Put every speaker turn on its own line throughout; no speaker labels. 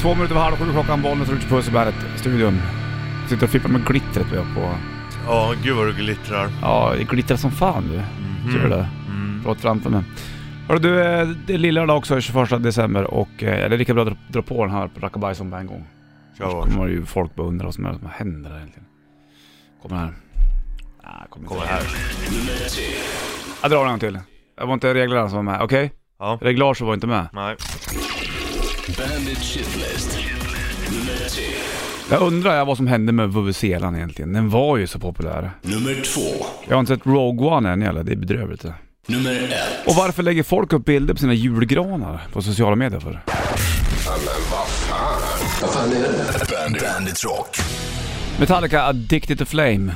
Två minuter över halv sju klockan, Bollnäs och Richard Puss i Bandet-studion. Sitter och fipplar med glittret vi har på.
Ja, gud vad du glittrar.
Ja, det glittrar som fan du.
Mhm.
Ser du det?
Mm.
Förlåt trampen men. Hörru du, eh, det är lillördag också 21 december och eh, det är lika bra att dra- dra på den här på Rackabaj som på en gång.
Kör
Då
vars.
kommer ju folk beundra vad som är- vad händer där egentligen. Kommer här. Nej, kommer inte.
Kommer här.
Jag drar en gång till. Jag var inte reglerna som var med, okej?
Ja.
Reglaget var inte med.
Nej.
Bandit Shitlist. Nummer tre.
Jag undrar jag vad som hände med vuvuzelan egentligen. Den var ju så populär.
Nummer två.
Jag har inte sett Rogue One än eller det är bedrövligt det.
Nummer ett.
Och varför lägger folk upp bilder på sina julgranar på sociala medier för?
Bandit. Bandit Rock.
Metallica Addicted to Flame.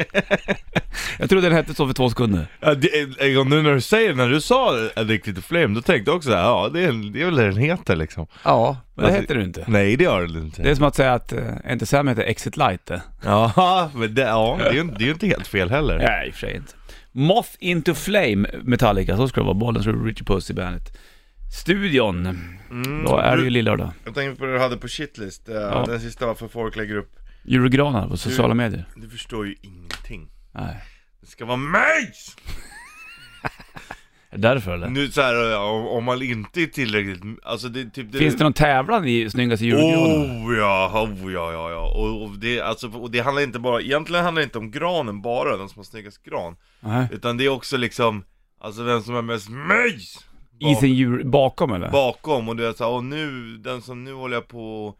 jag trodde den hette så för två sekunder.
Ja, det, eh, och nu när du säger, när du sa eh, Addicted to Flame, då tänkte jag också såhär, ja det är, det är väl det den heter liksom.
Ja, men det
Alltså-
heter det inte.
Nej det gör den
Det
inte.
är som att säga att, eh, är inte Sam heter Exit Light eh. det?
Ja, men det, ja, det är ju det är ju inte helt fel heller.
Nej, i och för sig inte. Moth into Flame Metallica, så ska det vara. Bollen skulle Richie Puss i bandet. Studion. Då är det ju lillördag.
Jag tänkte på det du hade på shitlist, eh, den sista varför folk lägger upp
Julgranar på sociala medier.
Du förstår ju ingenting
Nej.
Det ska vara majs!
Är det därför eller?
Nu så här, eh, om, om man inte är tillräckligt, alltså det är typ det,
Finns det någon tävlan i snyggaste julgranen?
Oh ja, oh ja, ja, ja. Och, och, det, alltså, och det handlar inte bara, egentligen handlar det inte om granen bara, den som har snyggast gran
Nej.
Utan det är också liksom, alltså vem som är mest majs!
I sin jul... bakom eller?
bakom och du är såhär, och nu, den som nu håller jag på och,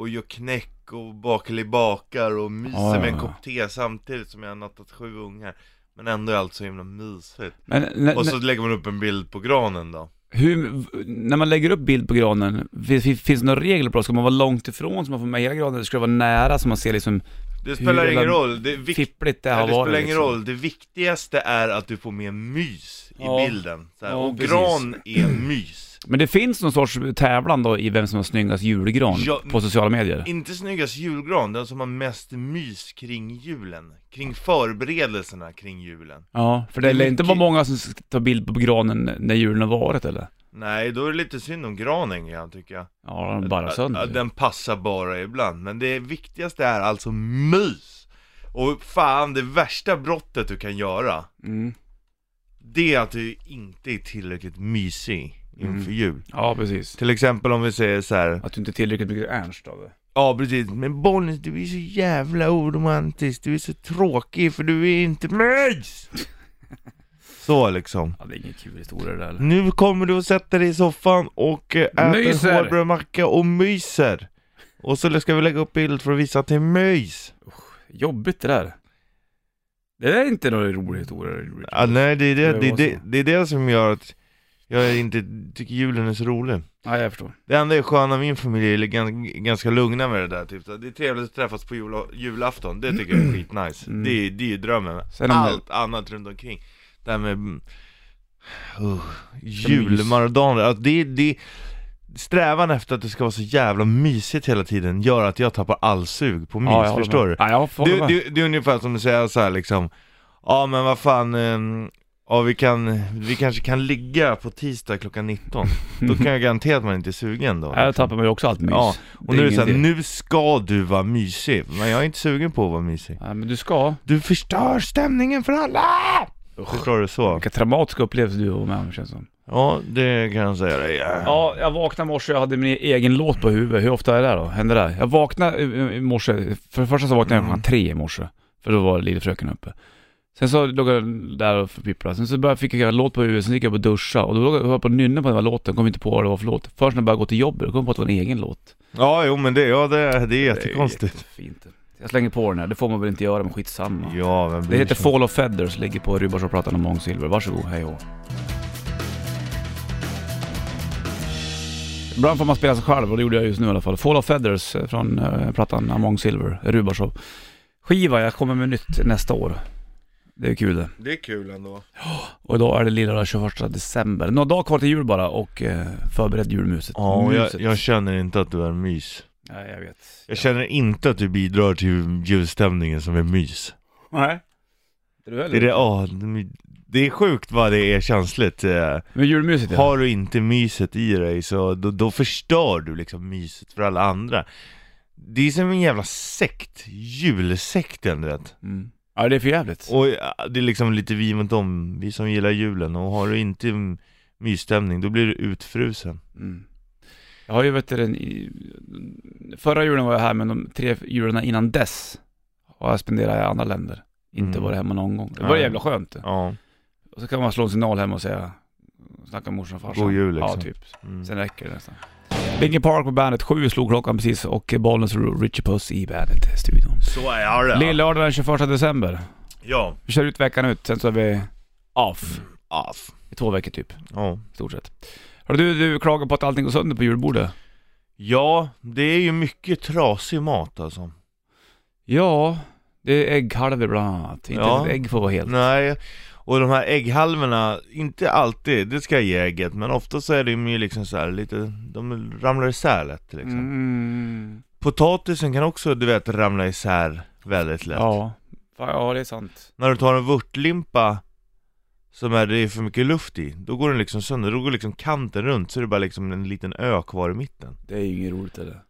och gör knäck och bakelibakar och myser
Ja, ja,
med en
Ah, ja.
kopp te samtidigt som jag har nattat sju ungar Men ändå är allt så himla mysigt
Men när,
Och så lägger man upp en bild på granen då
hur, när man lägger upp bild på granen, finns, finns finns det några regler på det? Ska man vara långt ifrån så man får med hela granen? Eller ska det vara nära så man ser liksom
Det spelar
Hur
ingen
jävla
roll, det, är vik-
fippligt det
det,
har
det
varit?
spelar ingen
liksom?
roll, det viktigaste är att du får med mys i
Ja.
bilden så här,
Ja,
Och
precis.
gran är mys
Men det finns någon sorts tävlan då i vem som har snyggast julgran
Ja,
på sociala medier?
Inte snyggast julgran, den som har mest mys kring julen Kring förberedelserna kring julen
Ja, för det
Det är
lär inte
mycket-
vara många som s- tar bild på granen när julen har varit eller?
Nej, då är det lite synd om granen igen tycker jag.
Ja, de bara
Att-
sönder.
att Den passar bara ibland, men det viktigaste är alltså mys! Och fan, det värsta brottet du kan göra,
mm.
det är att du inte är tillräckligt mysig
Mm.
inför jul.
Ja, precis.
Till exempel om vi säger så här.
Att du inte är tillräckligt mycket Ernst av det.
ja precis, men Bollnäs du är så jävla oromantisk, du är så tråkig för du är inte mys! så liksom.
Ja, det är ingen kul historia det där eller?
Nu kommer du att sätta dig i soffan och eh, äta
Myser.
en hårdbrödmacka och myser. Och så ska vi lägga upp bild för att visa att det är mys.
Jobbigt det där. Det där är inte någon rolig historia. Richard.
Ah, nej, det är
Det
det, det,
var
är det,
så.
det är det som gör att jag inte tycker julen är så rolig.
Nej, jag förstår.
Det enda är sköna med min familj är gan- ganska lugna med det där. Typ. Så Det är trevligt att träffas på jula, julafton, det tycker jag är skitnice.
Mm.
Det, är- det är ju drömmen.
Sen om det-
Allt annat runt omkring. Det här med mm, uh, julmaradaner, alltså det, det Strävan efter att det ska vara så jävla mysigt hela tiden gör att jag tappar all sug på mys,
Ja, jag håller
förstår
med.
du?
Ja, jag får
Det, det, det är ungefär som att säga så här liksom Ja men vad fan, ehm, ja, vi, kan, vi kanske kan ligga på tisdag klockan 19 Då kan jag garantera att man inte är sugen då
Här tappar man ju också allt mys.
Ja, och nu är det
ingen
såhär,
idé.
nu ska du vara mysig Men jag är inte sugen på att vara mysig
Nej, men du ska.
Du förstör stämningen för alla! Förstår du så?
Vilka traumatiska upplevelser du var med om känns som.
Ja, det kan jag säga dig
Ja, jag vaknade i morse och jag hade min egen låt på huvudet. Hur ofta är det då? Händer det? här? Jag vaknade eh, i- i morse, för det första så vaknade jag klockan tre i morse. För då var lillefröken uppe. Sen så låg jag där och pipplade. Sen så började, fick jag en låt på huvudet, sen gick jag upp och duscha Och då låg jag höll jag på att nynna på den här låten, kom inte på vad det var för låt. Först när jag började gå till jobbet, då kom jag på att det var en egen låt.
Ja, jo men det, ja, det, det är
Det är
jättekonstigt
jättefint. Jag slänger på den här, det får man väl inte göra men skitsamma.
Ja, vem
Det
bryr
heter
sig?
Fall of Feathers, ligger på Rubbarshowplattan och Mångsilver. Varsågod, hej och Ibland får man spela sig själv och det gjorde jag just nu i alla fall. Fall of Feathers eh, från eh, plattan Among Silver, Rubarshow. Skiva, jag kommer med nytt nästa år. Det är kul det.
Det är kul ändå
Och idag är det lilla 21 december. Några dagar kvar till jul bara och eh, förbered julmuset.
Ja, och jag,
Muset.
jag känner inte att du är mys
Nej, jag vet.
Jag känner inte att du bidrar till julstämningen som är mys. ah,
Nej. Inte du heller?
Det är det, ja, Det är sjukt vad det är känsligt. eh.
Men julmyset ja.
Har du inte myset i dig så då, då förstör du liksom myset för alla andra. Det är som en jävla sekt, julsekten du vet.
Mm. Ja det är för jävligt.
Och ja, det är liksom lite vi mot dem, vi som gillar julen. Och har du inte m- mysstämning då blir du utfrusen.
Mm. Jag har ju vet du, den, i- förra julen var jag här men de tre julen innan dess har jag spenderat i andra länder. Inte
Mm.
varit hemma någon gång. Det var
Nej.
jävla skönt det.
Ja.
Och så kan man slå en signal hem och säga, snacka med morsan och farsan.
God jul, liksom.
Ja typ.
Mm.
Sen räcker det nästan. Linkin Park på bandet, sju slog klockan precis och Bollnäs och Richie Puss i bandet-studion.
Så är det.
Lillördag den 21 december.
Ja.
Vi kör ut veckan ut, sen så är vi off.
Mm. Off.
I två veckor typ,
Ja.
i stort sett. Hörru du, du klagar på att allting går sönder på julbordet.
ja, det är ju mycket trasig mat alltså.
Ja, det är ägghalvor bland annat. Inte
Ja. Mm.
ens ett ägg får vara helt.
Nej, och de här ägghalvorna, inte alltid, det ska jag ge ägget, men ofta så är de ju liksom så här lite, de ramlar isär lätt liksom.
Mm.
Potatisen kan också, du vet, ramla isär väldigt lätt.
Ja. Fan, ja, det är sant.
När du tar en vörtlimpa som är, det är för mycket luft i, då går den liksom sönder, då går liksom kanten runt så är det bara liksom en liten ö kvar i mitten.
Det är ju inget roligt eller?
Den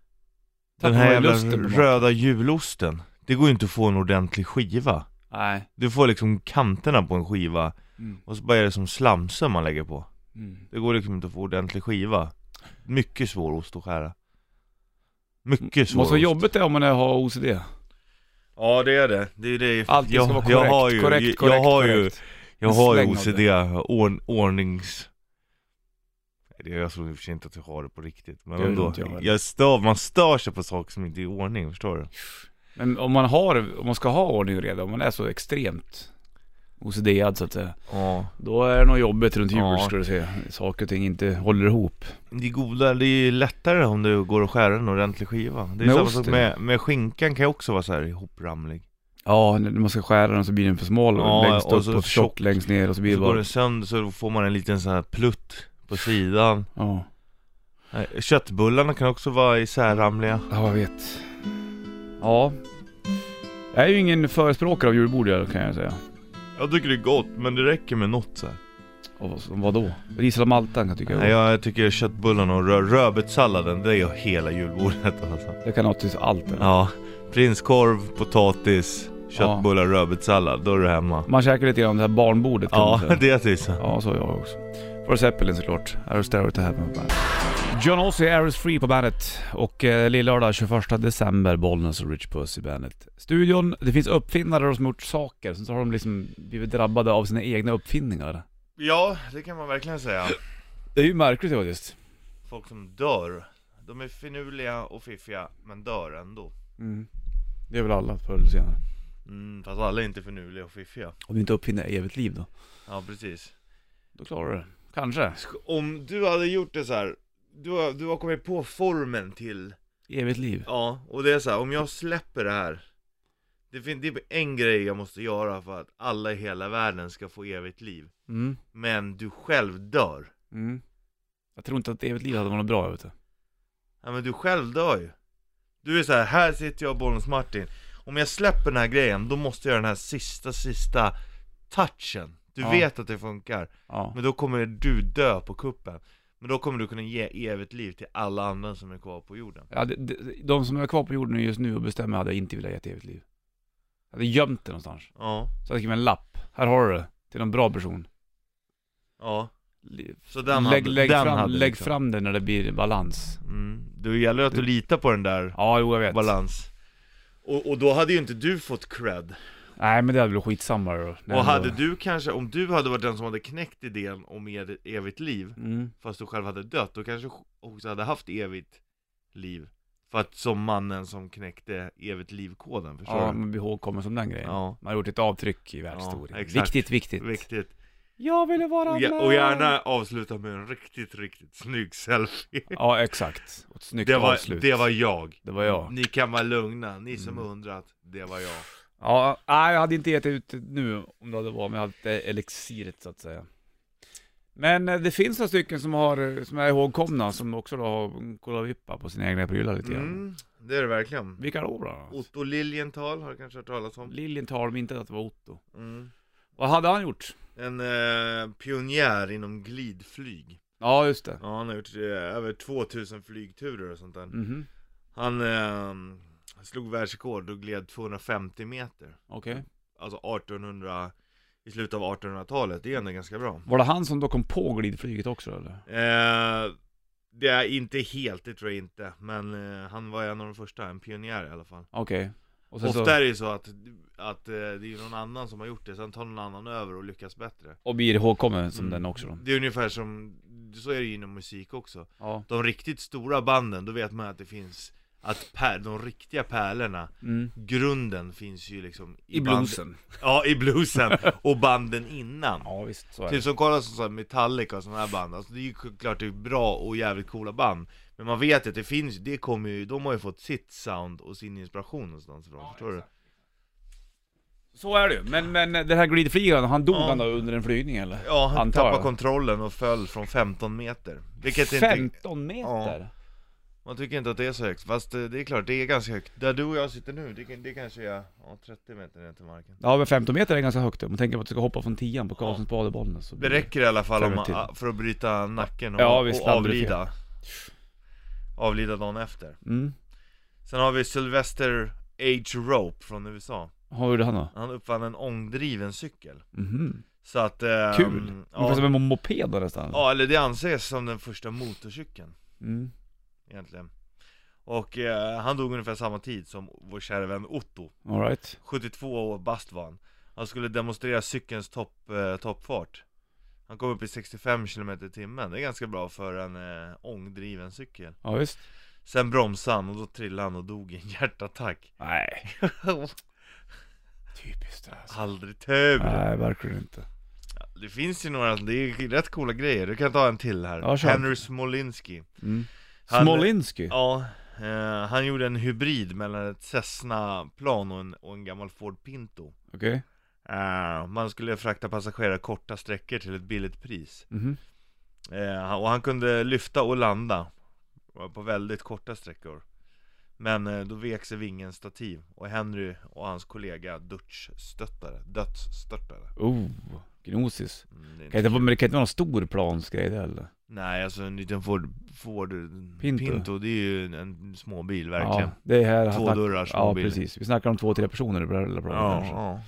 Tappar man
här
ju
jävla
lusten på maten.
röda julosten, det går ju inte att få en ordentlig skiva.
Nej.
Du får liksom kanterna på en skiva
Mm.
och så bara är det som slamsor man lägger på.
Mm.
Det går liksom inte att få ordentlig skiva. Mycket svår ost att skära. Mycket svår
Måste vara
ost.
jobbigt det om man har OCD.
Ja det är det. Det är det.
Allt ska
jag,
vara korrekt.
jag har ju,
korrekt,
jag,
korrekt,
har ju,
korrekt.
jag har ju
En släng av
OCD, ord, ordnings... Nej, det- Jag tror i och för sig inte att jag har det på riktigt, men
Det gör
ändå.
inte jag heller.
Jag stör, man stör sig på saker som inte är i ordning, förstår du?
Men om man har, om man ska ha ordning och reda, om man är så extremt OCD-ad så att säga.
Ja.
Då är det nog jobbigt runt jul
Ja.
ska du se. Saker och ting inte håller ihop.
Det är goda, det är ju lättare om du går och skär en ordentlig skiva. Det är
Med
samma
ost,
sak
det.
med, med skinkan kan jag också vara så här ihopramlig.
Ja, när man ska skära den så blir den för smal
Ja,
längst upp
och
och,
så
för tjock
tjock.
längst ner och så blir det
Så går
bara...
den sönder så får man en liten sån här plutt på sidan.
Ja.
Nej, Köttbullarna kan också vara isärramliga.
ja, jag vet. Ja. Jag är ju ingen förespråkare av julbord jag, kan jag säga.
Jag tycker det är gott, men det räcker med något så här.
Och vad då? Ris eller malta kan jag tycka
Nej,
är gott.
jag, jag tycker köttbullarna och rö- rödbetssalladen, det är ju hela julbordet alltså.
Jag kan ha till allt det.
Ja, prinskorv, potatis, köttbullar, rödbetssallad, då är du hemma.
Man käkar lite grann det här barnbordet kan man
Ja,
säga.
det är tusan.
Ja, så är jag också. För Zeppelin såklart. Aerostero to heaven på bandet. John Ossie, Aeros Free på bandet. Och eh, lillördag 21 december, Bollnäs och Rich Puss i bandet. Studion, det finns uppfinnare som har gjort saker, sen så har de liksom blivit drabbade av sina egna uppfinningar.
Ja, det kan man verkligen säga.
Det är ju märkligt faktiskt.
Folk som dör, de är finurliga och fiffiga, men dör ändå.
Mm. Det är väl alla förr eller senare.
Mm, fast alla är inte finurliga och fiffiga.
Om du inte uppfinner evigt liv då?
Ja, precis.
Då klarar du det. Kanske.
Sk- Om du hade gjort det så här. Du har, du har kommit på formen till
Evigt liv.
Ja, och det är så här, om jag släpper det här det, fin- det är en grej jag måste göra för att alla i hela världen ska få evigt liv
Mm.
Men du själv dör
Mm. Jag tror inte att evigt liv hade varit något bra, vet du.
Ja men du själv dör ju Du är så här, här sitter jag Bollnäs Martin Om jag släpper den här grejen, då måste jag göra den här sista, sista touchen Du
Ja.
vet att det funkar,
Ja.
men då kommer du dö på kuppen Men då kommer du kunna ge evigt liv till alla andra som är kvar på jorden
Ja, de, de, de som är kvar på jorden just nu och bestämmer hade jag inte velat ge ett evigt liv. Jag hade gömt det någonstans.
Ja,
Så jag skrev en lapp. Här har du det. Till någon bra person.
ja
Li-
Så den
lägg
hade,
lägg,
den
fram,
hade
lägg
liksom.
fram det när det blir balans.
Mm. Det gäller ju att du litar på den där
Ja, jo jag vet.
balans och, och då hade ju inte du fått cred
Nej men det är väl skitsamma då. Det är
Och hade
ändå-
du kanske, om du hade varit den som hade knäckt idén om er, evigt liv
Mm.
Fast du själv hade dött, då kanske också hade haft evigt liv För att som mannen som knäckte evigt liv-koden, förstår
Ja,
du?
man blir ihågkommen som den grejen.
Ja,
Man har gjort ett avtryck i världshistorien.
Ja, exakt.
viktigt, viktigt.
viktigt
Jag ville vara
och,
med.
ge- och gärna avsluta med en riktigt, riktigt snygg selfie
Ja, exakt. Och ett snyggt
det var,
avslut.
det var jag
det var jag.
Ni kan vara lugna, ni som
Mm.
undrat, det var jag
Ja, nej, jag hade inte gett ut det nu om det hade varit, men jag hade haft det elixiret så att säga. Men eh, det finns några stycken som, har, eh, som är ihågkomna som också då har kollavippat på sina egna prylar lite grann.
Mm, det är det verkligen.
Vilka då bland annat?
Otto Lilienthal har du kanske hört talas om.
Liljen talar om inte att det var Otto.
Mm.
Vad hade han gjort?
En eh, pionjär inom glidflyg.
Ja, just det.
Ja, han har gjort eh, över 2000 flygturer och sånt där.
Mhm.
Han eh, slog världsrekord och gled 250 meter.
Okej.
Alltså 1800, i slutet av 1800-talet. Det är ändå ganska bra.
Var det han som då kom på glidflyget också eller?
Eh, det är inte helt, det tror jag inte. Men eh, han var en av de första, en pionjär i alla fall.
Okej. Och sen
Ofta
så,
är det ju så att, att eh, det är ju någon annan som har gjort det, sen tar någon annan över och lyckas bättre.
och blir ihågkommen som
Mm.
den också då.
Det är ungefär som, så är det ju inom musik också.
Ja.
De riktigt stora banden, då vet man att det finns, att pär, de riktiga pärlorna,
Mm.
grunden finns ju liksom
I
band-
bluesen.
Ja, i bluesen och banden innan.
Ja visst, så är
Typ
det.
som kollar som så här Metallica och sådana här band, alltså det är ju klart det är bra och jävligt coola band Men man vet ju att det finns, det kommer ju, de har ju fått sitt sound och sin inspiration någonstans ifrån, förstår du?
Så är det ju. Men, men eh, den här glidflygaren, han dog
Ja.
han då under en flygning eller?
Ja, han
Antar
tappade
jag.
kontrollen och föll från 15 meter Vilket inte,
15 meter?
Ja. man tycker inte att det är så högt, fast eh, det är klart det är ganska högt Där du och jag sitter nu, det, kan- det kanske är, ja 30 meter ner till marken
Ja men 15 meter är ganska högt om man tänker på att du ska hoppa från tian på Karlssons badebollen så
Det
blir
räcker i alla fall om,
Fem
man- ah, för att bryta nacken och,
Ja, visst,
och
landar du fel.
avlida Avlida dagen efter
Mm.
Sen har vi Sylvester H. Rope från USA
Vad gjorde han då?
Han uppfann en ångdriven cykel
Mhm.
Så att... ehm,
Kul! Ungefär som
Ja,
en mo- moped då nästan.
ja, eller det anses som den första motorcykeln
Mm.
egentligen Och eh, han dog ungefär samma tid som vår kära vän Otto
All right.
72 år bast var han Han skulle demonstrera cykelns topp, eh, toppfart Han kom upp i 65 km i timmen, det är ganska bra för en eh, ångdriven cykel
Ja visst.
Sen bromsade han och då trillade han och dog i en hjärtattack
Nej. Typiskt det här.
Aldrig tur!
Nej, verkligen inte.
Det finns ju några, det är rätt coola grejer, du kan ta en till här
Ja, kör.
Henry Smolinski
Mm.
Han-
Smolinski?
Ja, eh, han gjorde en hybrid mellan ett Cessna-plan och en, och en gammal Ford Pinto
Okej.
eh, Man skulle frakta passagerare korta sträckor till ett billigt pris
Mhm.
eh, Och han kunde lyfta och landa eh, på väldigt korta sträckor Men eh, då vek sig vingen stativ och Henry och hans kollega dödsstöttare, dödsstörtare
Oh, gnosis.
Mm, det är
Kan
inte
inte, vara- men det kan inte vara någon stor plansgrej det heller?
Nej alltså en liten Ford, Ford
Pinto.
Pinto. det är ju en, en småbil verkligen
Ja, det är här
Två dörrar
Ja,
småbil
precis. Vi snackar om två, tre personer i det här lilla planet kanske.
ja,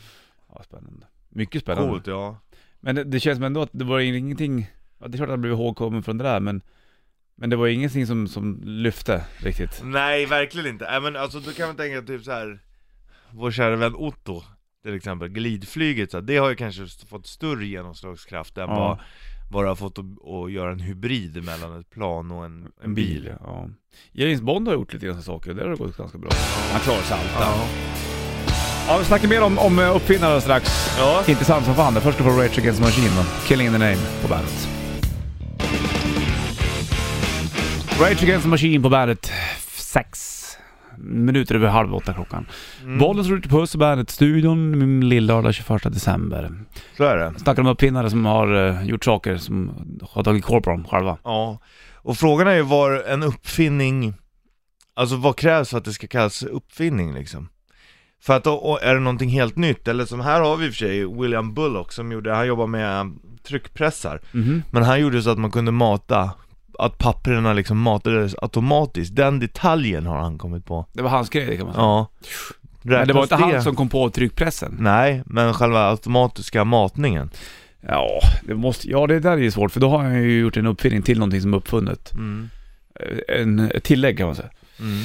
Ja, spännande. Mycket
ja.
spännande.
Coolt ja
Men det, det känns som ändå att det var ingenting, ja, det är klart att jag blev ihågkommen från det där men men det var ingenting som, som lyfte riktigt.
Nej verkligen inte, Nej, men alltså då kan man tänka typ så här. Vår kära vän Otto till exempel, glidflyget så här, det har ju kanske st- fått större genomslagskraft än
Ja.
vad, vad det har fått att, att göra en hybrid mellan ett plan och en, en bil
Ja. James Bond har gjort lite grann sådana saker och det har gått ganska bra. Han klarar sig allt. Ja.
Ja,
vi snackar mer om, om eh, uppfinnare strax.
ja.
Intressant som fan. Först ska vi få Rage Against the Machine då. Killing in the name på bandet. Rage Against the Machine på bandet. Sex minuter över halv åtta klockan. Mm. Bollen slår ut i puss och bandet. Studion lillördag 21 december.
så är det
Snackar om uppfinnare som har eh, gjort saker som har tagit koll på dem själva.
Ja, och frågan är ju var en uppfinning, alltså vad krävs för att det ska kallas uppfinning liksom? För att då och är det någonting helt nytt, eller som här har vi i och för sig William Bullock som gjorde, han jobbar med um, tryckpressar,
Mhm.
men han gjorde så att man kunde mata, att papperna liksom matades automatiskt, den detaljen har han kommit på.
Det var hans grej kan man säga.
Ja.
Men det var inte
Räknas
han som kom på tryckpressen?
Nej, men själva automatiska matningen.
Ja, det måste... Ja, det där är ju svårt för då har han ju gjort en uppfinning till någonting som är uppfunnet.
Mm.
Eh, En, ett tillägg kan man säga.
Mm.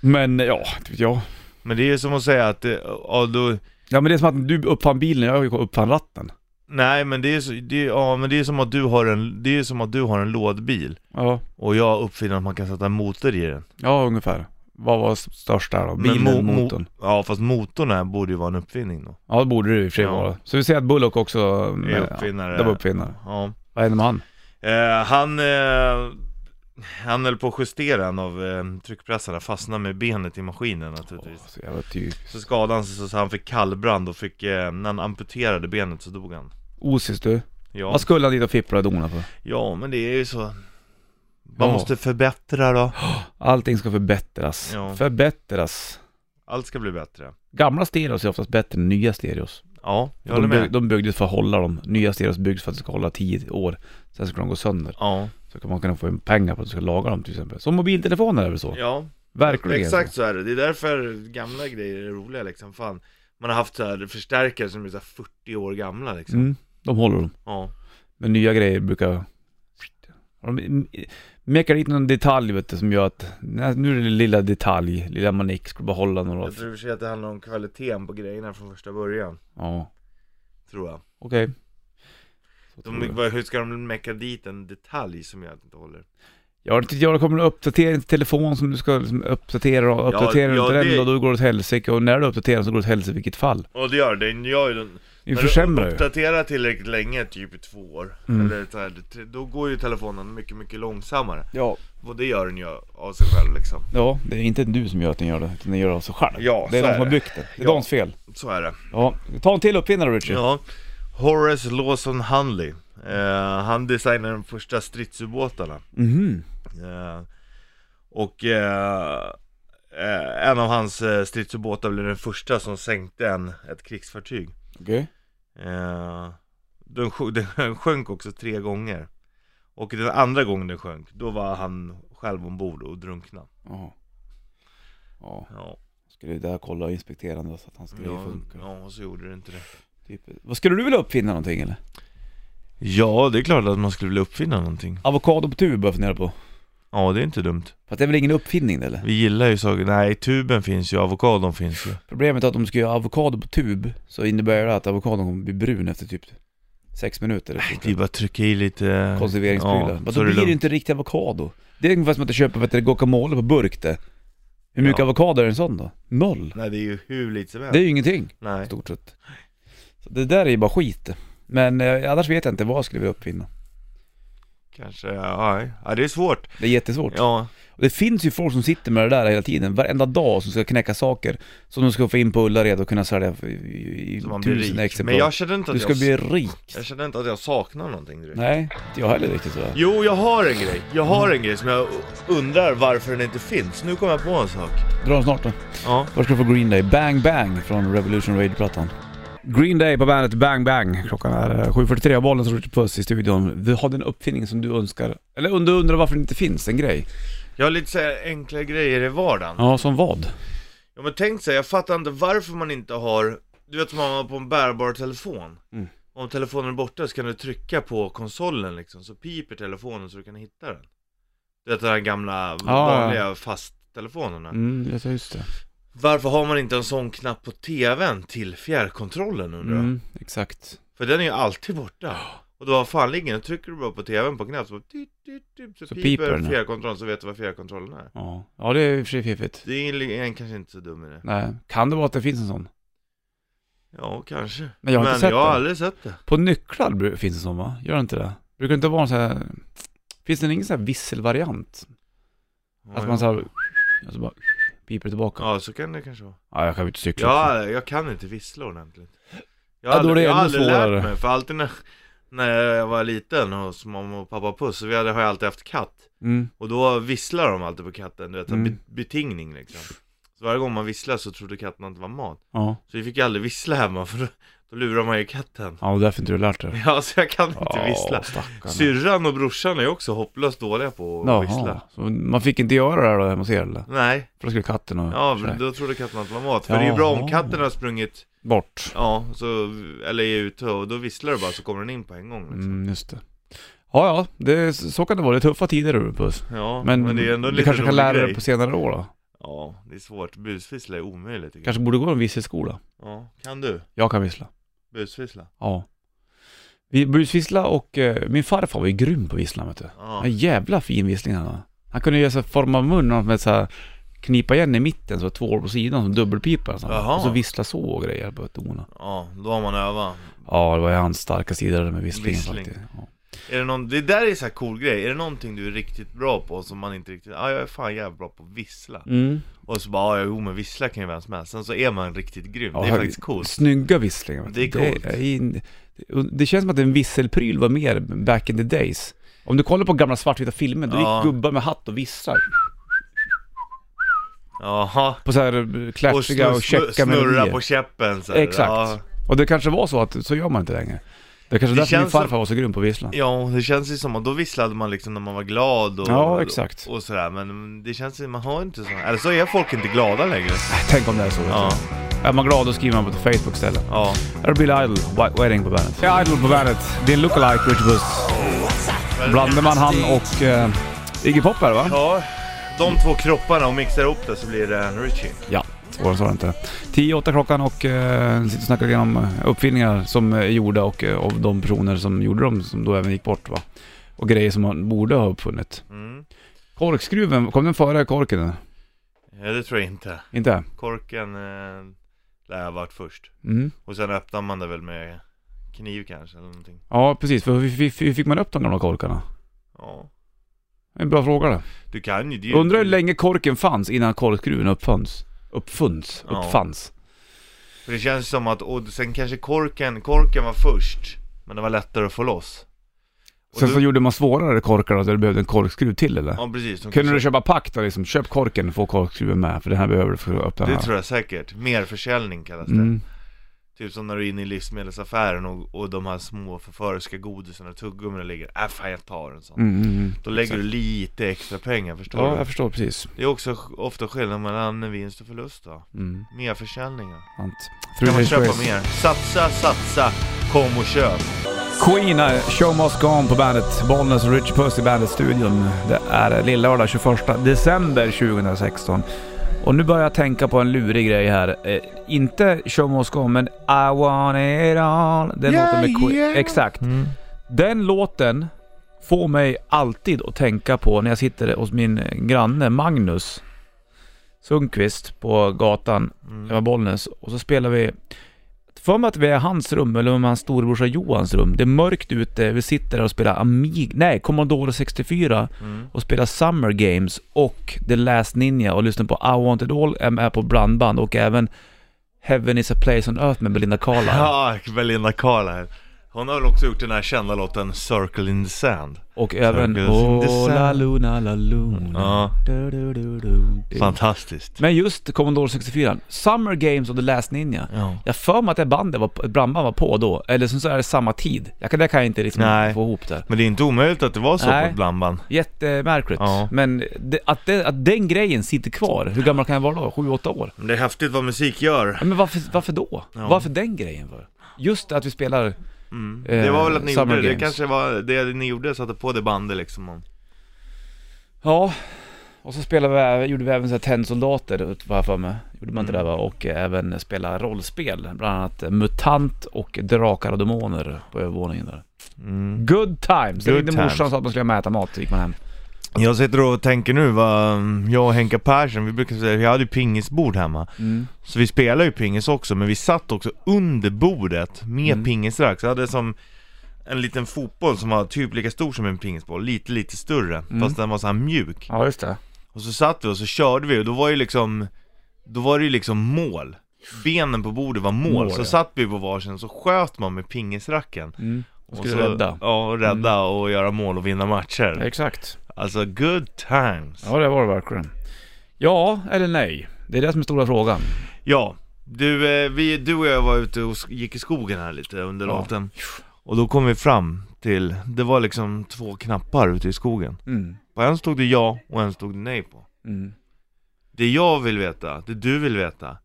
Men eh, ja, inte vet jag.
Men det är ju som att säga att, eh, ja, då,
Ja men det är som att du uppfann bilen, jag uppfann ratten.
Nej men det är, så, det är, ja, men det är som att du har en, det är som att du har en lådbil
Ja.
och jag uppfinner att man kan sätta en motor i den.
Ja, ungefär. Vad var s- störst där då? Bilen,
Men mo- mo-
motorn?
Ja fast motorn här borde ju vara en uppfinning då.
Ja, det borde det i och för sig
Ja.
vara. Så vi säger att Bullock också...
Är
eh,
uppfinnare.
Det var uppfinnare.
Ja.
Vad hände med han?
Eh, han, eh, han höll på att justera en av eh, tryckpressarna, fastnade med benet i maskinen naturligtvis.
Åh, så jävla typiskt.
Så skadade han sig så han fick kallbrand och fick, eh, när han amputerade benet så dog han.
Osis du.
Ja,
Vad skulle han dit och fippla och dona för?
ja men det är ju så. Man
Ja.
måste förbättra då.
Allting ska förbättras.
Ja.
Förbättras.
Allt ska bli bättre.
Gamla stereos är oftast bättre än nya stereos.
Ja, jag håller
De, bygg,
med.
de byggdes för att hålla dem. Nya stereos byggs för att det ska hålla 10 år. Sen ska de gå sönder.
Ja.
Så kan man kunna få in pengar på att du ska laga dem till exempel. Som mobiltelefoner är det väl så?
ja,
Verkligen.
exakt så är det. Det är därför gamla grejer är roliga liksom. Fan, man har haft så här förstärkare som är så här 40 år gamla liksom.
Mm, de håller dem.
Ja.
Men nya grejer brukar... De mekar dit någon detalj vet du, som gör att... Nej, nu är det lilla detalj, lilla manik, ska bara hålla några...
Jag tror i och för sig att det handlar om kvaliteten på grejerna från första början.
Ja,
Tror jag.
okej. Så tror
De,
jag.
vad- hur ska de mecka dit en detalj som jag inte håller?
Ja, det jag kommer en uppdatering till telefon som du ska liksom uppdatera och
Ja,
uppdatera
ja,
ja,
det-
den och då går det åt helsike och när du uppdaterar så går det åt helsike i vilket fall.
Och det gör det, den gör ju den
Det försämrar
du
ju.
uppdaterar tillräckligt länge, typ i två år
Mm.
eller så här, det- Då går ju telefonen mycket, mycket långsammare
Ja.
Och det gör den ju av sig själv liksom
ja, det är inte du som gör att den gör det, utan den gör det av sig själv.
Ja,
det är
så
de
är
som har
det.
byggt det. Det är
Ja.
deras fel.
Så är det
Ja, ta en till uppfinnare Richie.
Ja Horace Lawson Hunley eh, Han designade de första stridsubåtarna
Mhm.
Eh, och eh, eh, en av hans eh, stridsubåtar blev den första som sänkte en, ett krigsfartyg.
Okej.
Eh, den, sjö- den sjönk också tre gånger. Och den andra gången den sjönk, då var han själv ombord och drunknade.
Jaha. Ja,
Ja,
skulle ju där kolla och inspektera den då, så att hans grejer
ja,
funkar.
ja, och så gjorde det inte det.
Typ. Vad skulle du vilja uppfinna någonting eller?
Ja, det är klart att man skulle vilja uppfinna någonting.
Avokado på tub börjar jag fundera på.
Ja, det är inte dumt.
Fast det är väl ingen uppfinning det, eller?
Vi gillar ju saker, nej tuben finns ju, avokadon finns ju.
Problemet är att om du ska göra avokado på tub så innebär det att avokadon kommer bli brun efter typ sex minuter.
Det är bara att trycka i lite...
Konserveringsprylar.
Ja,
Men då
så är
blir det
lugnt.
ju inte riktig avokado. Det är ungefär som att du köper vet du, guacamole på burk det. Hur mycket
Ja.
avokado är en sån då? Noll.
Nej, det är ju hur lite som helst.
Det är ju ingenting i
Nej.
stort sett. Så det där är ju bara skit. Men eh, annars vet jag inte vad jag skulle vilja uppfinna.
Kanske, ja, nej. ja det är svårt.
Det är jättesvårt.
Ja,
Och det finns ju folk som sitter med det där hela tiden, varenda dag som ska knäcka saker. Som de ska få in på Ullared och kunna sälja för- i, i, i
så man blir
tusen
rik.
exemplar.
Men jag kände inte
Du
att
ska
jag,
bli rik.
jag kände inte att jag saknar någonting direkt.
Nej, inte jag heller riktigt sådär.
Jo, jag har en grej. Jag har
Mm.
en grej som jag undrar varför den inte finns. Nu kom jag på en sak.
Dra den snart då.
Ja.
Var ska du få Green Day? Bang Bang från Revolution Radio-plattan. Green Day på bandet Bang Bang. Klockan är eh, 7.43 och bollen som Richard Puss i studion. Du har den uppfinning som du önskar, eller om du undrar varför det inte finns en grej.
Jag har lite så här enkla grejer i vardagen.
Ja, som vad?
Ja, men tänk så här, jag fattar inte varför man inte har... Du vet som man har på en bärbar telefon.
Mm.
Om telefonen är borta så kan du trycka på konsolen liksom, så piper telefonen så du kan hitta den. Du vet de här gamla,
ja.
vanliga fasttelefonerna.
Mm, jag tar just det.
Varför har man inte en sån knapp på tvn till fjärrkontrollen undrar jag?
Mm, exakt.
För den är ju alltid borta. Och då har fan ligger den, trycker du bara på tvn på knapp så, bara, tyt, tyt, tyt, så,
Så
piper
piper den.
fjärrkontrollen så vet du vad fjärrkontrollen är.
Ja, ja det är i och för sig fiffigt.
Det är en kanske inte så dum idé.
Nej, kan det vara att det finns en sån?
Ja, kanske.
Men jag har inte sett
jag har
den.
aldrig sett det.
På nycklar bru- finns det sån va? Gör det inte det? Brukar det inte vara en sån här... Finns det ingen sån här visselvariant? Att man såhär... Och så bara... Piper det tillbaka. Ja.
Ja, så kan det kanske vara.
jag kan ju inte cykla.
Ja, jag kan inte vissla ordentligt. Jag
Ja,
har
då är det
aldrig, jag
ännu
har aldrig
svårare.
lärt mig, för alltid när, när jag var liten hos mamma och pappa Puss, så vi hade, har jag alltid haft katt.
Mm.
Och då visslar de alltid på katten, du vet,
Mm.
mm. betingning liksom. Så varje gång man visslar så trodde katten att det var mat.
Ja.
Så vi fick ju aldrig vissla hemma för då, då lurar man ju katten
Ja, och därför inte du lärt dig.
Ja så jag kan inte
Ja,
vissla
stackarna.
Syrran och brorsan är också hopplöst dåliga på att
Jaha,
vissla
så man fick inte göra det här då hemma hos er eller?
Nej,
För då skulle katten och...
ja men då trodde katten att det var mat För det är ju bra om
Jaha.
katten har sprungit,
Bort.
ja, så, eller är ute och då visslar du bara så kommer den in på en gång liksom.
Mm, just det. Ja, ja, det, så kan det vara. Det är tuffa tider du Puss.
Ja, men,
Men,
det är ändå en
du
lite
kanske kan
rolig
lära dig
grej
det på senare år då?
Ja, det är svårt, busvissla är omöjligt tycker jag.
Kanske borde gå en visselskola?
Ja, kan du
Jag kan vissla.
busvissla?
Ja. Vi busvissla och eh, min farfar var ju grym på visslan vet du.
Ja,
En jävla fin vissling han hade. Han kunde göra så här form av mun med så här knipa igen i mitten så två år på sidan som dubbelpipa och,
Jaha.
och så vissla så och grejer på tonerna.
ja då har man övat
Ja, det var ju hans starka sida det där med visslingen
Vissling.
faktiskt. Ja.
Är det, någon, det där är så här cool grej, är det någonting du är riktigt bra på som man inte riktigt, ja ah, jag är fan jävligt bra på att vissla
Mm.
Och så bara, ah, jo men vissla kan ju vem som helst, sen så är man riktigt grym,
Ja,
det är
hör-
faktiskt coolt
Snygga visslingar. vet du.
Det är coolt.
Det, är in- det känns som att en visselpryl var mer back in the days. Om du kollar på gamla svartvita filmer, då
Ja.
gick gubbar med hatt och visslar.
Jaha,
På så här eh, klatschiga och,
snu- snu-
käcka
snurra
melodier.
på käppen så här.
Exakt.
Ja.
Och det kanske var så att så gör man inte längre. Det kanske är därför
Det
min
känns som-
farfar var så grym på att vissla.
Ja, det känns ju som att då visslade man liksom när man var glad och,
Ja, exakt.
och sådär Men det känns ju, man har inte så Eller så är folk inte glada längre
Tänk om det är så. vet du.
Ja,
Är man glad då skriver man på Facebook istället.
ja
Här är Billy Idol, White Wedding på bandet. Ja, Idol på bandet. Din lookalike Richard Buss. Blandar man han och eh, Iggy Pop här va?
Ja, de två kropparna och mixar ihop det så blir det en Richie
Ja, svårare så var det inte. 10-8 klockan och eh, sitter och snackar igenom eh, uppfinningar som är gjorda och eh, av de personer som gjorde dem som då även gick bort va. Och grejer som man borde ha uppfunnit.
mm.
Korkskruven, kom den före korken? eller?
Ja, det tror jag inte
Inte?
Korken eh, lär ha varit först
Mm.
Och sen öppnar man det väl med kniv kanske eller någonting
Ja, precis. För hur, hur, hur fick man upp de gamla korkarna?
Ja
En bra fråga det.
Du kan ju det är ju-
Undrar hur länge korken fanns innan korkskruven uppfanns? Uppfunns?
Ja.
Uppfanns?
För det känns som att, och sen kanske korken, korken var först Men det var lättare att få loss Och
Sen
då-
så gjorde man svårare korkar och du behövde en korkskruv till eller?
Ja precis, de
Kunde
kanske-
du köpa pack då liksom? Köp korken och få korkskruven med för den här behöver du för att öppna
Det
den här.
tror jag säkert. Merförsäljning kallas det.
Mm.
Typ som när du är inne i livsmedelsaffären och, och de här små förföriska godisarna och tuggummina ligger. Äh fan jag tar en sån.
Mm, mm, mm.
Då lägger du lite extra pengar förstår
Ja,
du.
jag förstår precis.
Det är också sk- ofta skillnad mellan vinst och förlust då.
Mm,
Merförsäljningar.
sant.
Kan man
Days
köpa
Grace.
mer? Satsa, satsa, kom och köp.
Queen, eh, Show Must Gone på bandet. Bollnäs och Rich Puss i bandet-studion. Det är lillördag 21 december 2016. Och nu börjar jag tänka på en lurig grej här. Eh, inte Show Must Gone, men I want it all. Den
Yeah,
låten med Queen.
yeah.
Exakt.
Mm.
Den låten får mig alltid att tänka på när jag sitter hos min granne Magnus Sundqvist på gatan
Mm.
det var Bollnäs och så spelar vi för mig att vi är i hans rum eller om hans storebrorsa Johans rum. Det är mörkt ute, vi sitter där och spelar Amig... Nej, Commodore 64
Mm.
och spelar Summer Games och The Last Ninja och lyssnar på I Want It All, är med på blandband och även Heaven Is A Place On Earth med Belinda Carlisle.
Ja, Belinda Carl här. Hon har väl också gjort den här kända låten 'Circle in the Sand'
Och även
Circles in the
Oh La
Sun.
Luna La Luna.
Ja,
Du, du, du, du.
fantastiskt.
Men just Commodore 64, Summer Games och The Last Ninja.
Ja.
Jag för mig att det bandet var, ett brandband var på då, eller sen så är det samma tid. Jag kan, det kan jag inte liksom
Nej.
få ihop där.
Men det är inte omöjligt att det var så
Nej.
på ett blandband.
Jättemärkligt.
Ja.
Men det, att, det, att den grejen sitter kvar, hur gammal kan jag vara då? Sju, åtta år?
Men det är häftigt vad musik gör.
Ja, Men varför, varför då?
Ja.
Varför den grejen? För? Just att vi spelar...
Mm.
Eh,
det var väl att ni
Summer
gjorde det, det
Games.
kanske var det ni gjorde, satte på det bandet liksom. och-
Ja, och så spelade vi, gjorde vi även så här tennsoldater, vad jag för mig. Gjorde man inte
Mm.
det va? Och eh, även spela rollspel. Bland annat eh, MUTANT och Drakar och Demoner på övervåningen där.
Mm.
Good times!
Good
Good ringde
times.
morsan och sa att man skulle hem och äta mat, så gick man hem.
Jag sitter och tänker nu vad mm, jag och Henka Persson, vi brukar säga, jag hade ju pingisbord hemma.
Mm.
Så vi spelade ju pingis också, men vi satt också under bordet med
Mm.
pingisrack. Så jag hade som en liten fotboll som var typ lika stor som en pingisboll, lite lite större.
Mm.
Fast den var så här mjuk.
Ja, just det.
Och så satt vi och så körde vi och då var ju liksom Då var det ju liksom mål Benen på bordet var mål,
Mål,
så
ja.
satt vi på varsin så sköt man med pingisracken
Mm. Och
och så,
skulle rädda. Mm.
Ja, och rädda och göra mål och vinna matcher
Exakt.
Alltså good times Ja,
Ja, det var det verkligen. Ja eller nej? Det är det som är stora frågan.
du, eh, vi, du och jag var ute och sk- gick i skogen här lite under
Ja.
låten Och då kom vi fram till, det var liksom två knappar ute i skogen
Mm.
På en stod det ja och en stod det nej på
Mm.
Det jag vill veta, det du vill veta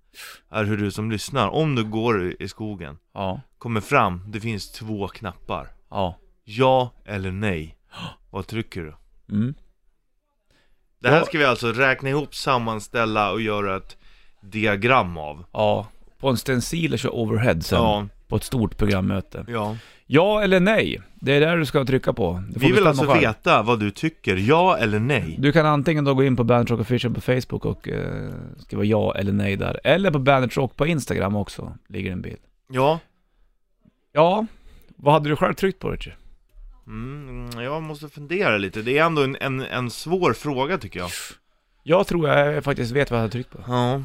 Är hur du som lyssnar, om du går i skogen
Ja.
Kommer fram, det finns två knappar
Ja.
Ja eller nej Vad trycker du?
Mm.
Det här
Ja.
ska vi alltså räkna ihop, sammanställa och göra ett diagram av
Ja. På en stencil och kör overhead sen.
Ja,
På ett stort programmöte.
ja
Ja eller nej? Det är där du ska trycka på. Du får
Vi vill
bestämma
alltså
själv.
veta vad du tycker, ja eller nej
Du kan antingen då gå in på Bandit Rock Official på Facebook och eh, skriva ja eller nej där. Eller på Bandit Rock på Instagram också, ligger en bild.
Ja
Ja, vad hade du själv tryckt på Richard?
mm, jag måste fundera lite, det är ändå en, en, en svår fråga tycker jag
Jag tror jag eh, faktiskt vet vad jag hade tryckt på.
Ja,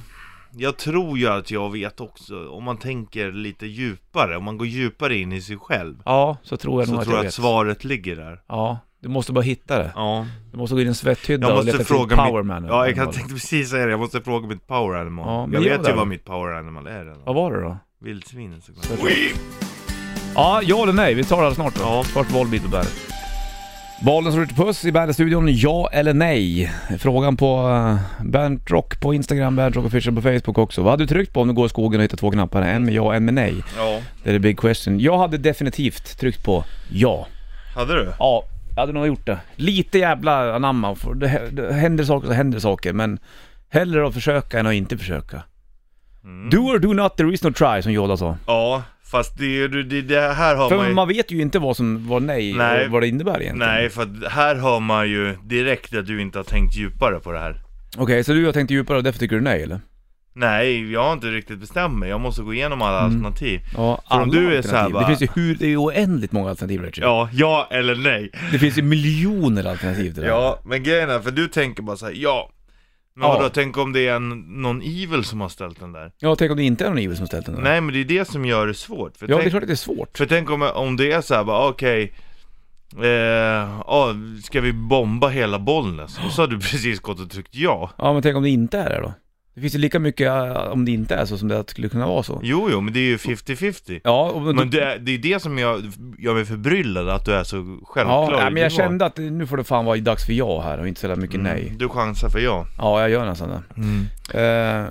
jag tror ju att jag vet också, om man tänker lite djupare, om man går djupare in i sig själv
Ja, så tror jag nog
Så
att
tror
jag
jag
vet.
att svaret ligger där
Ja, du måste bara hitta det.
Ja,
Du måste gå in i en svetthydda
jag
och
måste
leta till
fråga
power
mitt...
man.
Ja, jag kan tänkte precis säga det, jag måste fråga mitt power animal
Ja, men
Jag
gör
vet ju
det.
vad mitt power animal är redan
Vad var det då?
Vildsvinen såklart.
Ja, ja eller nej? Vi tar det alldeles snart då.
Ja.
Först valbit på bandet. Bollen som ryter puss i Bandet-studion, ja eller nej? Frågan på uh, Bandrock på Instagram, Bandrock official på Facebook också. Vad hade du tryckt på om du går i skogen och hittar två knappar? En med ja och en med nej.
Ja.
Det är the big question. Jag hade definitivt tryckt på ja.
Hade du?
Ja, jag hade nog gjort det. Lite jävla anamma. för Det, hä- det händer saker så händer saker, men hellre att försöka än att inte försöka. Do or do not, there is no try, som Yoda sa.
Ja, fast det, är ju- det, det här har man
För
ju...
man vet ju inte vad som var nej,
Nej.
och vad det innebär egentligen.
Nej, för att här hör man ju direkt att du inte har tänkt djupare på det här.
Okej, så du har tänkt djupare och därför tycker du nej eller?
Nej, jag har inte riktigt bestämt mig. Jag måste gå igenom alla
Mm.
alternativ.
Ja,
För om
alla
du är
alternativ.
så här bara-
Det finns ju hur, det är ju oändligt många alternativ Richard.
Ja, ja eller nej.
Det finns ju miljoner alternativ till det här.
Ja, men grejen är, för du tänker bara så här, ja. Men
Ja.
vadå, tänk om det är en, någon evil som har ställt den där?
Ja, tänk om det inte är någon Ivel som ställt den där.
Nej, men det är det som gör det svårt. För
Ja, det är
tänk,
klart att det är svårt.
för tänk om, om det är så här, bara okej, eh, ja, ska vi bomba hela Bollnäs? Och så har du precis gått och tryckt ja.
Ja, men tänk om det inte är det då? Det finns ju lika mycket äh, om det inte är så som det att skulle kunna vara så.
Jo, jo, men det är ju 50-50.
Ja, och
Men det är, det är det som jag, jag är förbryllad, att du är så
Ja,
självklar. i
nej,
din
men jag
val.
kände att nu får det fan vara dags för ja här och inte så jävla mycket nej.
Du chansar för ja.
Ja, jag gör nästan det. Eh,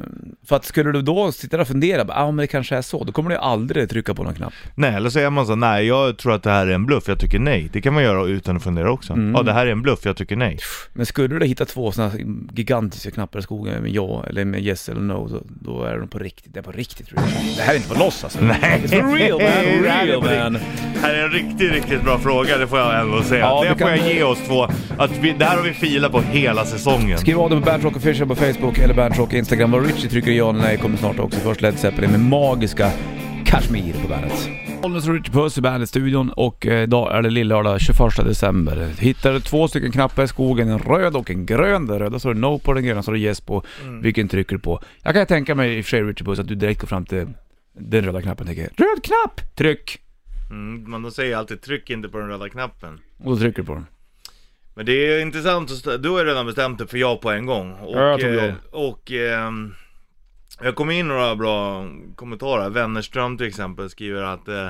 för att skulle du då sitta där och fundera, ja ah, men det kanske är så, då kommer du ju aldrig trycka på någon knapp.
Nej, eller så är man så nej jag tror att det här är en bluff, jag tycker nej. Det kan man göra utan att fundera också.
Mm.
Ja, det här är en bluff, jag tycker nej.
Men skulle du då hitta två sådana gigantiska knappar i skogen med ja eller med yes eller no, då, då är de på riktigt. Det är på riktigt tror jag. Det här är inte på låtsas. Nej. It's for real man,
Det här är
real
på
man.
Det här är en riktigt, riktigt bra fråga, det får jag ändå säga.
Ja,
det
du
får
kan-
jag ge oss två, att vi, det här har vi filat på hela säsongen.
Skriv av dig på Bandrock Official på Facebook eller Bandrock Instagram. Vad Richie trycker ja eller nej kommer snart också. Först Led Zeppelin med magiska Kashmir på bandet. Bollnäs och Richie Puss i Bandet-studion och eh, idag är det lillördag 21 december. Hittade två stycken knappar i skogen, en röd och en grön. Den röda står det no på, den gröna står det yes på. Vilken trycker du på? Jag kan tänka mig i och för sig Richie Puss att du direkt går fram till den röda knappen och tänker Röd knapp! Tryck!
Mm, man säger jag alltid, tryck inte på den röda knappen.
Och då trycker du på den.
Men det är intressant, att st- du har ju redan bestämt dig för ja på en gång. Och,
Ja, jag tog ja.
eh, och ehm, jag kom in några bra kommentarer. Wennerström till exempel skriver att eh,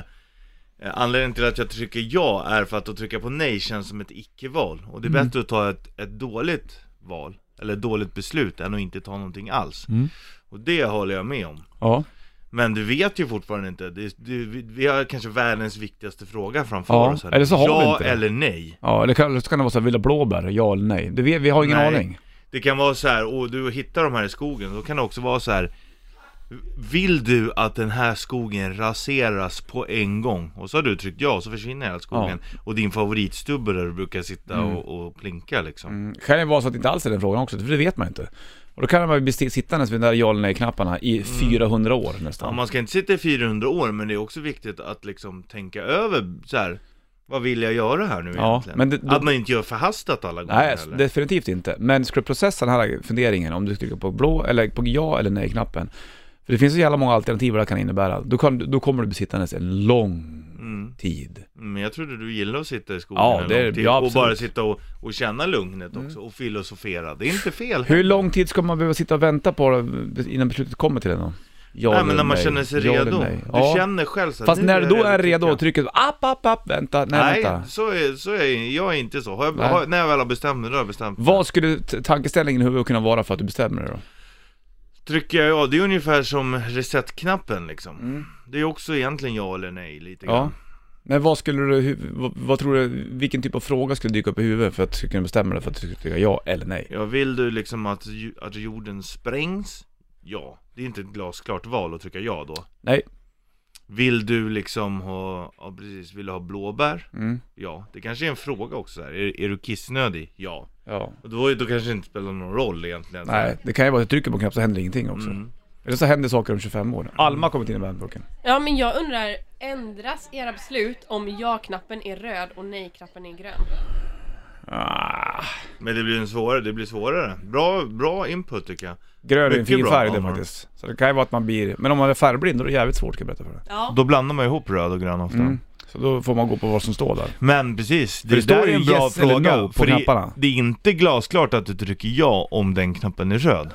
anledningen till att jag trycker ja är för att att trycka på nej känns som ett icke-val. Och det är
Mm.
bättre att ta ett, ett dåligt val, eller ett dåligt beslut, än att inte ta någonting alls.
Mm.
Och det håller jag med om.
Ja.
Men du vet ju fortfarande inte. Det, du, vi- vi har kanske världens viktigaste fråga framför
Ja,
oss. här.
eller så har vi
ja
inte det.
eller nej.
Ja, eller kan, så kan det vara så här, vill du ha blåbär? Ja eller nej? Det, vi, vi har ingen
Nej.
aning.
Det kan vara så här, och du hittar de här i skogen, då kan det också vara så här. Vill du att den här skogen raseras på en gång? Och så har du tryckt ja, och så försvinner hela skogen. Och din favoritstubbe där du brukar sitta
Mm.
och, och plinka liksom.
kan det vara så att det inte alls är den frågan också, för det vet man inte. Och då kan man ju bli sti- sittandes vid de där ja eller nej-knapparna i 400 år
Mm. Ja,
nästan.
man ska inte sitta i 400 år, men det är också viktigt att liksom tänka över så här. Vad vill jag göra här nu
Ja,
egentligen?
men det- då-
Att man inte gör förhastat alla gånger
Nej, alltså,
heller.
definitivt inte. Men ska du processa den här funderingen, om du trycker på blå eller på ja eller nej-knappen. För det finns så jävla många alternativ vad det kan innebära. Då, kan, då kommer du bli sittandes en lång
Mm.
tid.
Men jag trodde du gillade att sitta i skogen
Ja,
en
det är-
lång tid
ja,
och
absolut. Mm.
bara sitta och, och känna lugnet också och filosofera. Det är inte fel.
Hur lång tid ska man behöva sitta och vänta på det innan beslutet kommer till en då? Ja
Nej
eller
men när man
nej?
känner sig
Ja eller
redo.
nej?
Du
Ja.
känner själv så här,
Fast
nu
när du då
jag
är redo och
tycker
trycker app, app, app, vänta, nej,
jag. Nej,
vänta.
så är, så är jag är inte så. Har jag,
Nej.
har, när jag väl har bestämt mig, då har jag bestämt mig.
Vad skulle t- tankeställningen i huvudet kunna vara för att du bestämmer dig då?
Trycker jag ja, det är ungefär som resetknappen liksom. Det är också egentligen ja eller nej lite
Mm. Ja.
grann.
Men vad skulle du, hu- vad, vad tror du, vilken typ av fråga skulle dyka upp i huvudet för att du skulle kunna bestämma dig för att du skulle tycka ja eller nej?
Ja, vill du liksom att, ju- att jorden sprängs? Ja. Det är inte ett glasklart val att trycka ja då.
Nej.
Vill du liksom ha, ja precis, vill du ha blåbär?
Mm.
Ja. Det kanske är en fråga också här. Är, är du kissnödig? Ja.
Ja.
Och då, då kanske det inte spelar någon roll egentligen.
Nej, det kan ju vara att du trycker på en knapp så händer ingenting också.
Mm.
Eller så händer saker om 25 år. Alma har kommit in i bandboken.
Ja men jag undrar, ändras era beslut om ja-knappen är röd och nej-knappen är grön?
Ah,
Men det blir en svårare, det blir svårare. Bra, bra input tycker jag.
Grön är en
Mycket
fin
bra,
färg det
Alma.
faktiskt. Så det kan ju vara att man blir, men om man är färgblind då är det jävligt svårt kan jag berätta för dig.
Ja.
Då blandar man ihop röd och grön ofta.
Mm. Så då får man gå på vad som står där.
Men precis, det,
det står
där är
ju
en bra
yes eller
fråga.
no på
för det,
knapparna.
det är inte glasklart att du trycker ja om den knappen är röd.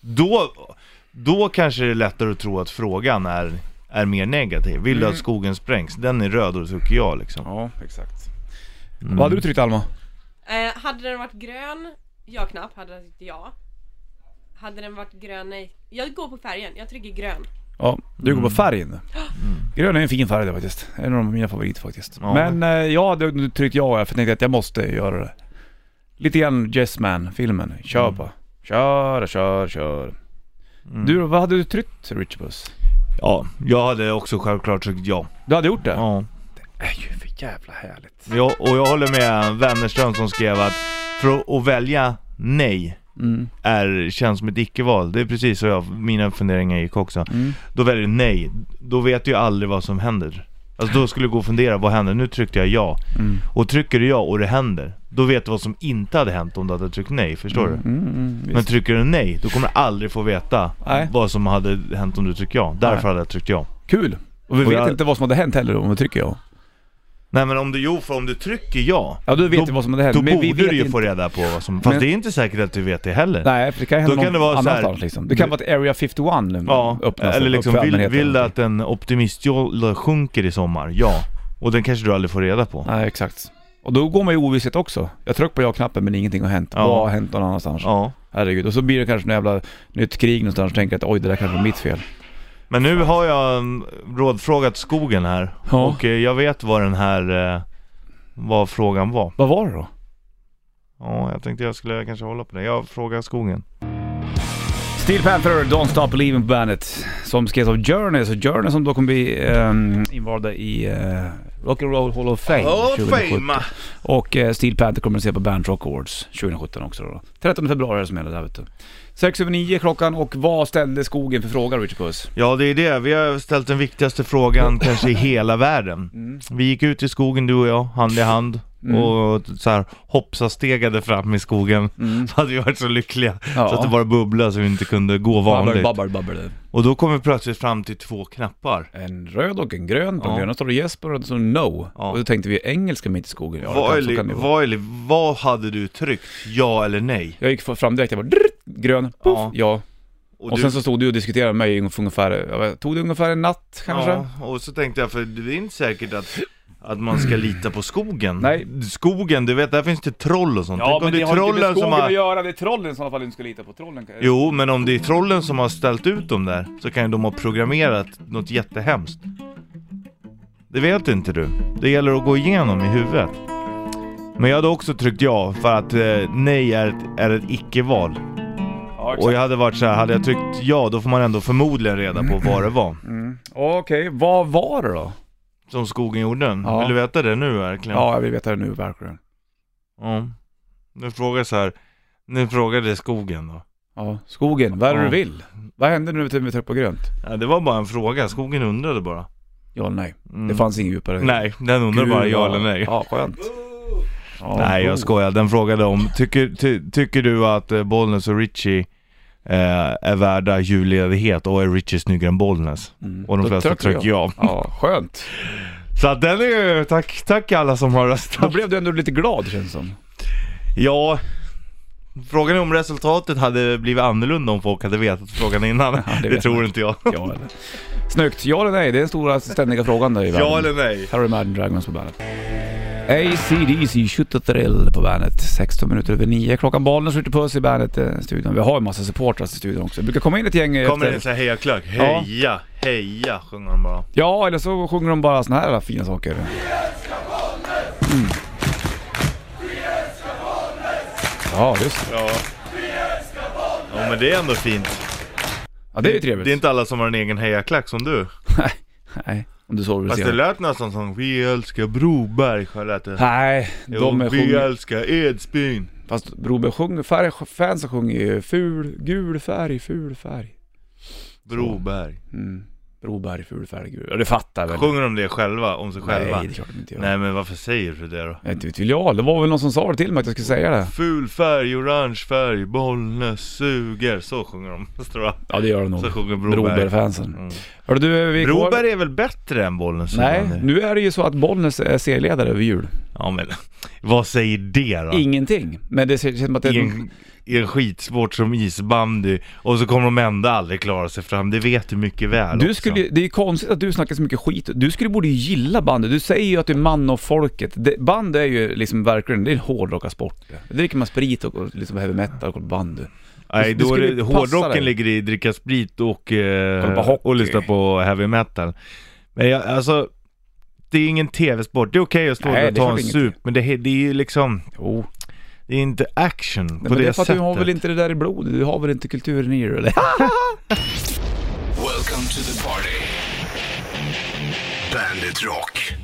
Då, då kanske det är lättare att tro att frågan är är mer negativ. Vill
Mm.
du att skogen sprängs? Den är röd och det tycker jag liksom.
Ja, exakt.
Mm.
Vad hade du tryckt Alma?
Eh, hade den varit grön ja-knapp hade jag tyckt ja. Hade den varit grön nej. Jag går på färgen, jag trycker grön.
Ja, du
Mm.
går på färgen. Grön är en fin färg det faktiskt. En av mina favoriter faktiskt.
Ja.
Men eh, jag hade nog tryckt ja för jag tänkte att jag måste göra det. Lite grann Yes Man filmen. Kör
Mm.
bara. Kör, kör, kör. Du då, vad hade du tryckt Richard Puss?
Ja, jag hade också självklart tryckt ja.
Du hade gjort det?
ja.
Det är ju för jävla härligt.
Ja, och jag håller med Wennerström som skrev att för att välja nej
Mm.
är, känns som ett icke-val. Det är precis så jag, mina funderingar gick också.
Mm.
Då väljer du nej, då vet du ju aldrig vad som händer. Alltså då skulle du gå och fundera, vad händer? Nu tryckte jag ja.
Mm.
Och trycker du ja och det händer, då vet du vad som inte hade hänt om du hade tryckt nej, förstår du?
Mm, mm,
Men
visst.
trycker du nej, då kommer du aldrig få veta
Nej.
vad som hade hänt om du trycker ja. Därför
Nej.
hade jag tryckt ja.
Kul! Och vi
Och
vet
jag-
inte vad som hade hänt heller om vi trycker ja.
Nej men om du, jo för om du trycker ja,
Ja, du vet
Då-
ju vad som hade hänt.
då
men vi
borde
vet
du ju
inte.
få reda på vad som... Fast
Men-
det är inte säkert att du vet det heller.
Nej, för det kan ju
Då
hända
kan det
någon
vara så här-
annanstans liksom. Det kan vara att Area 51
Ja,
öppnas
eller
upp
liksom
för
vill,
allmänheten.
vill du att en optimistjolle sjunker i sommar? Ja. Och den kanske du aldrig får reda på.
Nej, exakt. Och då går man ju i ovisshet också. Jag trycker på ja-knappen men ingenting har hänt.
Ja.
Vad har hänt någon annanstans?
Ja.
Herregud. Och så blir det kanske något jävla nytt krig någonstans och tänker att oj, det där kanske var mitt fel.
Men nu har jag mm, rådfrågat skogen här.
Ja.
Och eh, jag vet vad den här... eh, Vad frågan var.
Vad var det då?
Ja, jag tänkte jag skulle kanske hålla på det. Jag frågar skogen.
Steel Panther, Don't Stop Believing på bandet. Som skrevs av Journey. Så Journey som då kommer bli um, invalda i uh, Rock'n'Roll Hall of Fame 2017. Och eh, Steel Panther kommer att se på Band Rock Awards 2017 också då. 13 februari är det som gäller där vet du. 6 över 9 klockan och vad ställde skogen för fråga Richard Puss?
Ja, det är det. Vi har ställt den viktigaste frågan kanske i hela världen.
Mm.
Vi gick ut i skogen du och jag, hand i hand. Och så här hoppsastegade fram i skogen. Då hade vi varit så lyckliga.
Mm. Ja.
Så att det bara bubblade så vi inte kunde gå vanligt.
babbar, babbar.
Och då kom vi plötsligt fram till två knappar.
En röd och en grön. På
Ja.
den gröna står det yes, på den röda står det no.
Ja.
Och då tänkte vi engelska mitt i skogen. Ja, det kan-
Vad
så
eller-
kan det vara.
vad eller- vad hade du tryckt? Ja eller nej?
Jag gick fram direkt, jag bara drrrt, grön, poff,
Ja.
ja.
Och,
Och,
du-
sen så stod du och diskuterade med mig ungefär, ungefär, jag vet, tog det ungefär en natt kanske?
Ja, och så tänkte jag, för det är inte säkert att att man ska lita på skogen.
Nej.
Skogen, du vet, där finns det troll och sånt. Tänk om det är trollen som har...
göra, det är trollen i sådana fall du inte ska lita på. Trollen
Jo, men om det är trollen som har ställt ut dem där så kan ju de ha programmerat något jättehemskt. Det vet inte du. Det gäller att gå igenom i huvudet. Men jag hade också tryckt ja för att eh, nej är ett, är ett icke-val. Och jag hade varit så här, hade jag tryckt ja då får man ändå förmodligen reda på vad det var
Mm. Okej, vad var det då?
som skogen gjorde.
Ja.
Vill du veta det nu verkligen?
Ja, jag vill veta det nu verkligen.
Ja. Nu frågar jag så här, nu frågade skogen då.
Ja, skogen, vad är det
Ja.
du vill? Vad hände nu när vi tryckte på grönt?
Ja, det var bara en fråga, skogen undrade bara.
Ja, nej.
Mm.
Det fanns ingen djupare.
Nej, den undrar
Gud,
bara ja
vad-
eller nej.
Ja, skönt. Ja,
Nej jag skojar, den frågade om, tycker, ty, tycker du att eh, Bollnäs och Richie eh, är värda julledighet och är Richie snyggare än Bollnäs?
Mm.
Och de
Då
flesta
trycker
trycker ja.
Ja, skönt.
Så att den är ju, tack, tack alla som har
Då
röstat.
blev du ändå lite glad känns det som.
Ja, frågan är om resultatet hade blivit annorlunda om folk hade vetat frågan innan.
det
det
vet
tror
man.
inte jag.
Ja eller? Snyggt. Ja eller nej? Det är den stora ständiga frågan där i världen.
Ja eller nej?
Här har du Imagine Dragons på bandet. ACDC, Shoot the Thrill på bandet. 16 minuter över 9. Klockan bollen skjuter puss i bandet-studion. Vi har en massa supportrar i studion också. Det brukar komma in ett gäng eh,
Kommer det
efter...
en sån här hejaklack? Heja, heja sjunger de bara.
Ja, eller så sjunger de bara såna här fina saker. Mm. Ja, just det.
Ja. Ja men det är ändå fint.
Ja, det är ju trevligt.
Det är inte alla som har en egen hejaklack som du.
Nej, nej. Om du sover och
Fast det
ser.
lät nästan som Vi älskar Broberg, har jag lät det.
Nej, de
Jo,
är
vi
sjunger...
älskar Edsbyn.
Fast Broberg sjunger... Färg, fansen sjunger ju ful, gul färg, ful färg.
Broberg.
Mm. Broberg, ful färg, gul. Ja, det fattar väl.
Sjunger de det själva, om sig själva?
Nej, det är klart de inte gör.
Nej men varför säger du det då?
Jag vet inte vet jag. Det var väl någon som sa det till mig att jag skulle säga det.
Ful färg, orange färg, Bollnäs suger. Så sjunger de, tror jag.
Ja, det gör det nog.
Så sjunger Broberg. Mm.
Broberg-fansen. Hörru du, vi går...
Broberg är väl bättre än Bollnäs?
Nej,
ibland?
nu är det ju så att Bollnäs är serieledare över jul.
Ja men, vad säger det då?
Ingenting. Men det ser- känns som att det,
Ingen- i en skitsport som isbandy och så kommer de ändå aldrig klara sig fram, det vet du mycket väl
Du
också.
skulle, ju- det är ju konstigt att du snackar så mycket skit. Du skulle borde ju gilla bandet. Du säger ju att du är man av folket. Det, band är ju liksom verkligen, det är en hårdrockarsport. Då dricker man sprit och, och liksom heavy metal och kollar på bandy.
Nej,
det
då är
skulle
det,
ju passa dig.
hårdrocken ligger i dricka sprit och,
Kolla på
eh,
hockey.
och lyssna på heavy metal. Men jag, alltså, det är ingen tv-sport. Det är okej att stå
Nej,
där och
det är
ta en
klart inget.
sup, men det, he- det är ju liksom,
Jo.
det är inte action på
Nej, men
det,
det är för att
sättet.
du har väl inte det där i blodet? Du har väl inte kulturen i dig eller?
Welcome to the party. Bandit Rock.